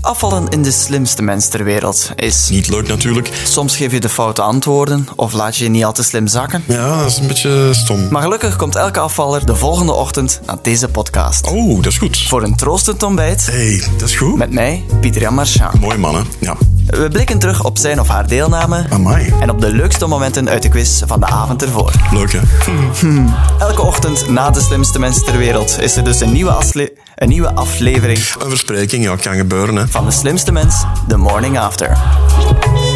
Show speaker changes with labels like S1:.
S1: Afvallen in de slimste mens ter wereld is.
S2: Niet leuk natuurlijk.
S1: Soms geef je de foute antwoorden of laat je je niet al te slim zakken.
S2: Ja, dat is een beetje stom.
S1: Maar gelukkig komt elke afvaller de volgende ochtend naar deze podcast.
S2: Oh, dat is goed.
S1: Voor een troostend ontbijt
S2: hey, dat is goed.
S1: met mij, Pieter-Jan Marchand.
S2: Mooi mannen. Ja.
S1: We blikken terug op zijn of haar deelname
S2: Amai.
S1: en op de leukste momenten uit de quiz van de avond ervoor.
S2: Leuk hè?
S1: Elke ochtend na de slimste mens ter wereld is er dus een nieuwe, afle- een nieuwe aflevering
S2: Een verspreking, ja, kan gebeuren hè.
S1: van de slimste mens, The Morning After.